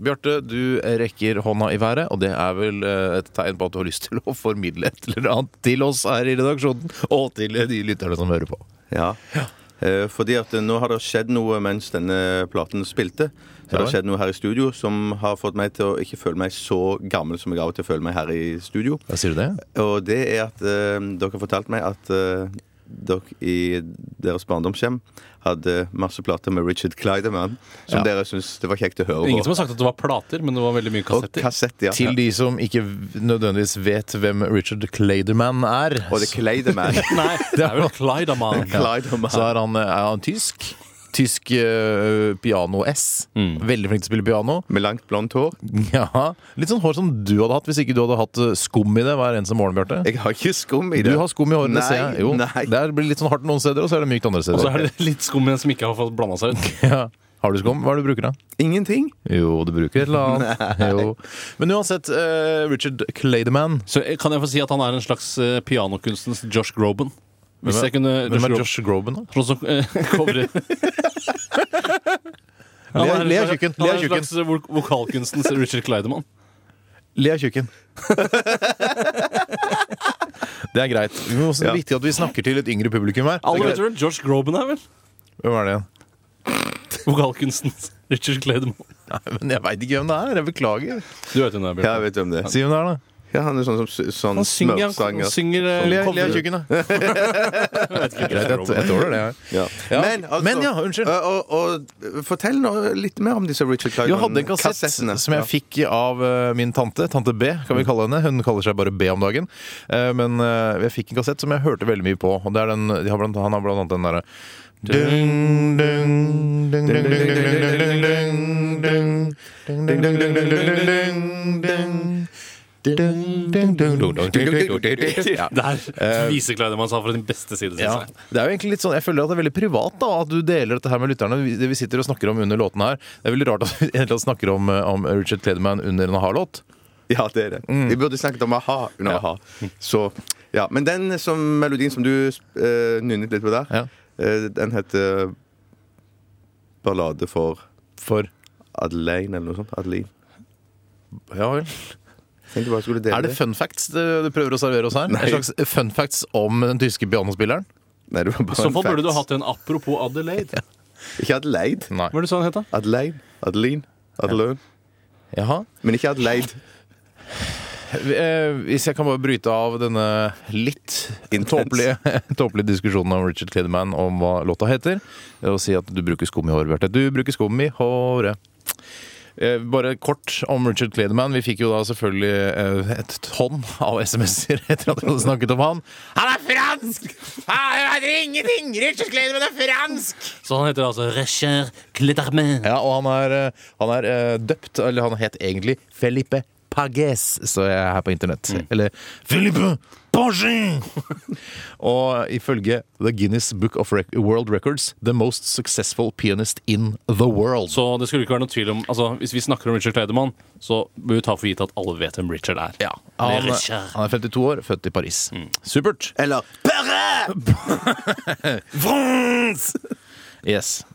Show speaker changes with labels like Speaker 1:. Speaker 1: Bjarte, du rekker hånda i været, og det er vel eh, et tegn på at du har lyst til å formidle et eller annet til oss her i redaksjonen, og til eh, de lytterne som hører på.
Speaker 2: Ja. Eh, Fordi at eh, nå har det skjedd noe mens denne platen spilte.
Speaker 1: Ja
Speaker 2: Så har
Speaker 1: vel.
Speaker 2: det skjedd noe her i studio som har fått meg til å ikke føle meg så gammel som jeg av og til føler meg her i studio.
Speaker 1: Ja, sier du det?
Speaker 2: Og det er at eh, dere fortalte meg at eh, dere i deres barndomshjem hadde masse plater med Richard Clyderman som
Speaker 1: Ja.
Speaker 2: dere syntes det var kjekt å høre
Speaker 3: Ingen
Speaker 2: på.
Speaker 3: som har sagt at det var plater, men det var veldig mye
Speaker 2: Og
Speaker 3: kassetter.
Speaker 2: kassett, ja.
Speaker 1: Til de som ikke v- nødvendigvis vet hvem Richard Clayderman er,
Speaker 2: Og det er Clyderman.
Speaker 3: Nei, det er vel Kleidaman.
Speaker 2: Clyderman.
Speaker 1: så er han, eh, er han tysk. Tysk eh, piano-S.
Speaker 2: Mm.
Speaker 1: Veldig flink til å spille piano.
Speaker 2: Med langt blondt hår.
Speaker 1: Ja, Litt sånn hår som du hadde hatt hvis ikke du hadde hatt eh, skum i det hver eneste morgen, Bjarte.
Speaker 2: Jeg har ikke skum i det.
Speaker 1: Du har skum i håret, det
Speaker 2: Nei,
Speaker 1: ser jeg. Jo,
Speaker 2: nei.
Speaker 1: Det er- blir litt sånn hardt noen steder, og så er det mykt andre
Speaker 3: Og så
Speaker 1: steder.
Speaker 3: er det litt skum igjen som ikke har fått blanda seg ut.
Speaker 1: Ja. Har du skum? Hva er det du bruker, da?
Speaker 2: Ingenting.
Speaker 1: Jo, du bruker et eller annet. Jo. Men uansett, eh, Richard Clayderman
Speaker 3: Så eh, kan jeg få si at han er en slags eh, pianokunstens Josh Groban? Hvis
Speaker 1: Hvem er-
Speaker 3: jeg kunne
Speaker 1: Hvem er Josh Groban, da?
Speaker 3: Han som eh, covrer Han er en
Speaker 1: le av
Speaker 3: slags-
Speaker 1: tjukken, le
Speaker 3: Han
Speaker 1: av
Speaker 3: er en
Speaker 1: tjukken.
Speaker 3: slags vok- vokalkunstens Richard Kleidemann.
Speaker 1: Le av tjukken. Det er greit. Det er også
Speaker 2: Ja.
Speaker 1: viktig at vi snakker til et yngre publikum her.
Speaker 3: Alle vet hvem Josh Groban er, vel?
Speaker 1: Hvem er det igjen?
Speaker 3: Vokalkunstens Richard Kleidemann.
Speaker 1: Nei, men jeg veit ikke hvem det er. Jeg beklager.
Speaker 3: Du vet hvem det er,
Speaker 2: Ja,
Speaker 3: Bjørn.
Speaker 2: jeg vet hvem det er.
Speaker 1: Si hvem det er, da.
Speaker 2: Ja, han er sånn, som- sånn
Speaker 3: Han synger, han,
Speaker 2: smørsanger.
Speaker 3: synger eh,
Speaker 1: Le, le
Speaker 3: cover-
Speaker 1: av tjukken, da. Greit, jeg, jeg tåler det, jeg.
Speaker 2: Ja.
Speaker 1: Ja.
Speaker 2: Men, altså,
Speaker 1: Men ja, unnskyld.
Speaker 2: Og, og, og fortell nå litt mer om disse Richard Clyburn.
Speaker 1: Jeg hadde en kassett som jeg fikk av eh, min tante, tante B, kan vi kalle henne. Hun kaller seg bare B om dagen. Eh, men eh, jeg fikk en kassett som jeg hørte veldig mye på. Og det er den, de har blant, han har blant annet den derre Dung, dung, dung, dung, dung, dung, dung, dung, dung, dung. Dung, dung, dung, dung, dung, dung, dung, dung. Dung, dung, dung, dung, dung, dung, dung, dung. Ja.
Speaker 3: Der viser Kleidemann seg fra din beste side. synes
Speaker 1: Ja.
Speaker 3: jeg.
Speaker 1: Det er jo egentlig litt sånn, Jeg føler at det er veldig privat da, at du deler dette her med lytterne. Vi- Det vi sitter og snakker om under låtene her. Det er veldig rart at vi egentlig snakker om, eh, om Richard Clayderman under en A-ha-låt.
Speaker 2: Ja, det er det. Vi burde snakket om a-ha under
Speaker 1: Mm. Ja.
Speaker 2: a-ha. Så, ja. Men den som, melodien som du eh, nynnet litt på der,
Speaker 1: Ja.
Speaker 2: eh, den heter Ballade for
Speaker 1: For
Speaker 2: Adeleine, eller noe sånt. Adeline.
Speaker 1: ja vel.
Speaker 2: Tenkte bare jeg skulle dele
Speaker 1: Er det fun facts eh, du du prøver å servere oss her? En slags fun facts om den tyske pianospilleren?
Speaker 2: Nei, det var
Speaker 3: I
Speaker 2: bare
Speaker 3: så
Speaker 2: en
Speaker 3: fall burde du
Speaker 2: fact.
Speaker 3: hatt en apropos Adelaide.
Speaker 2: Ikke Adelaide.
Speaker 1: Nei.
Speaker 3: Hva er det du sa han het, da?
Speaker 2: Adelaine. Adeline. Adeløn.
Speaker 1: Jaha.
Speaker 2: Men ikke Adelaide.
Speaker 1: Eh, Hvis jeg kan bare bryte av denne litt
Speaker 2: Intens.
Speaker 1: tåpelige tåpelige diskusjonen om Richard Clayderman om hva låta heter, og si at du bruker skum i håret, Bjarte. Du bruker skum i håret. Eh, Bare kort om Richard Clayderman. Vi fikk jo da selvfølgelig eh, et tonn av SMS-er etter at vi hadde snakket om han. Han er fransk! Han heter ingenting! Richard Clayderman er fransk!
Speaker 3: Så han heter altså Richard Kleidemann.
Speaker 1: Ja, og han er, eh, han er eh, døpt, eller han het egentlig Felipe Pages, så jeg er her på internett. Eller Felipe Pages! og ifølge The Guinness Book of Rec World Records, the most successful pianist in the world.
Speaker 3: Så det skulle ikke være noe tvil om altså, Hvis vi snakker om Richard Kleidemann, så bør vi ta for gitt at alle vet hvem Richard er.
Speaker 1: ja, han,
Speaker 3: Richard.
Speaker 1: han er Mm. 52 år, født i Paris. Supert!
Speaker 2: Eller Perret!
Speaker 1: Yes.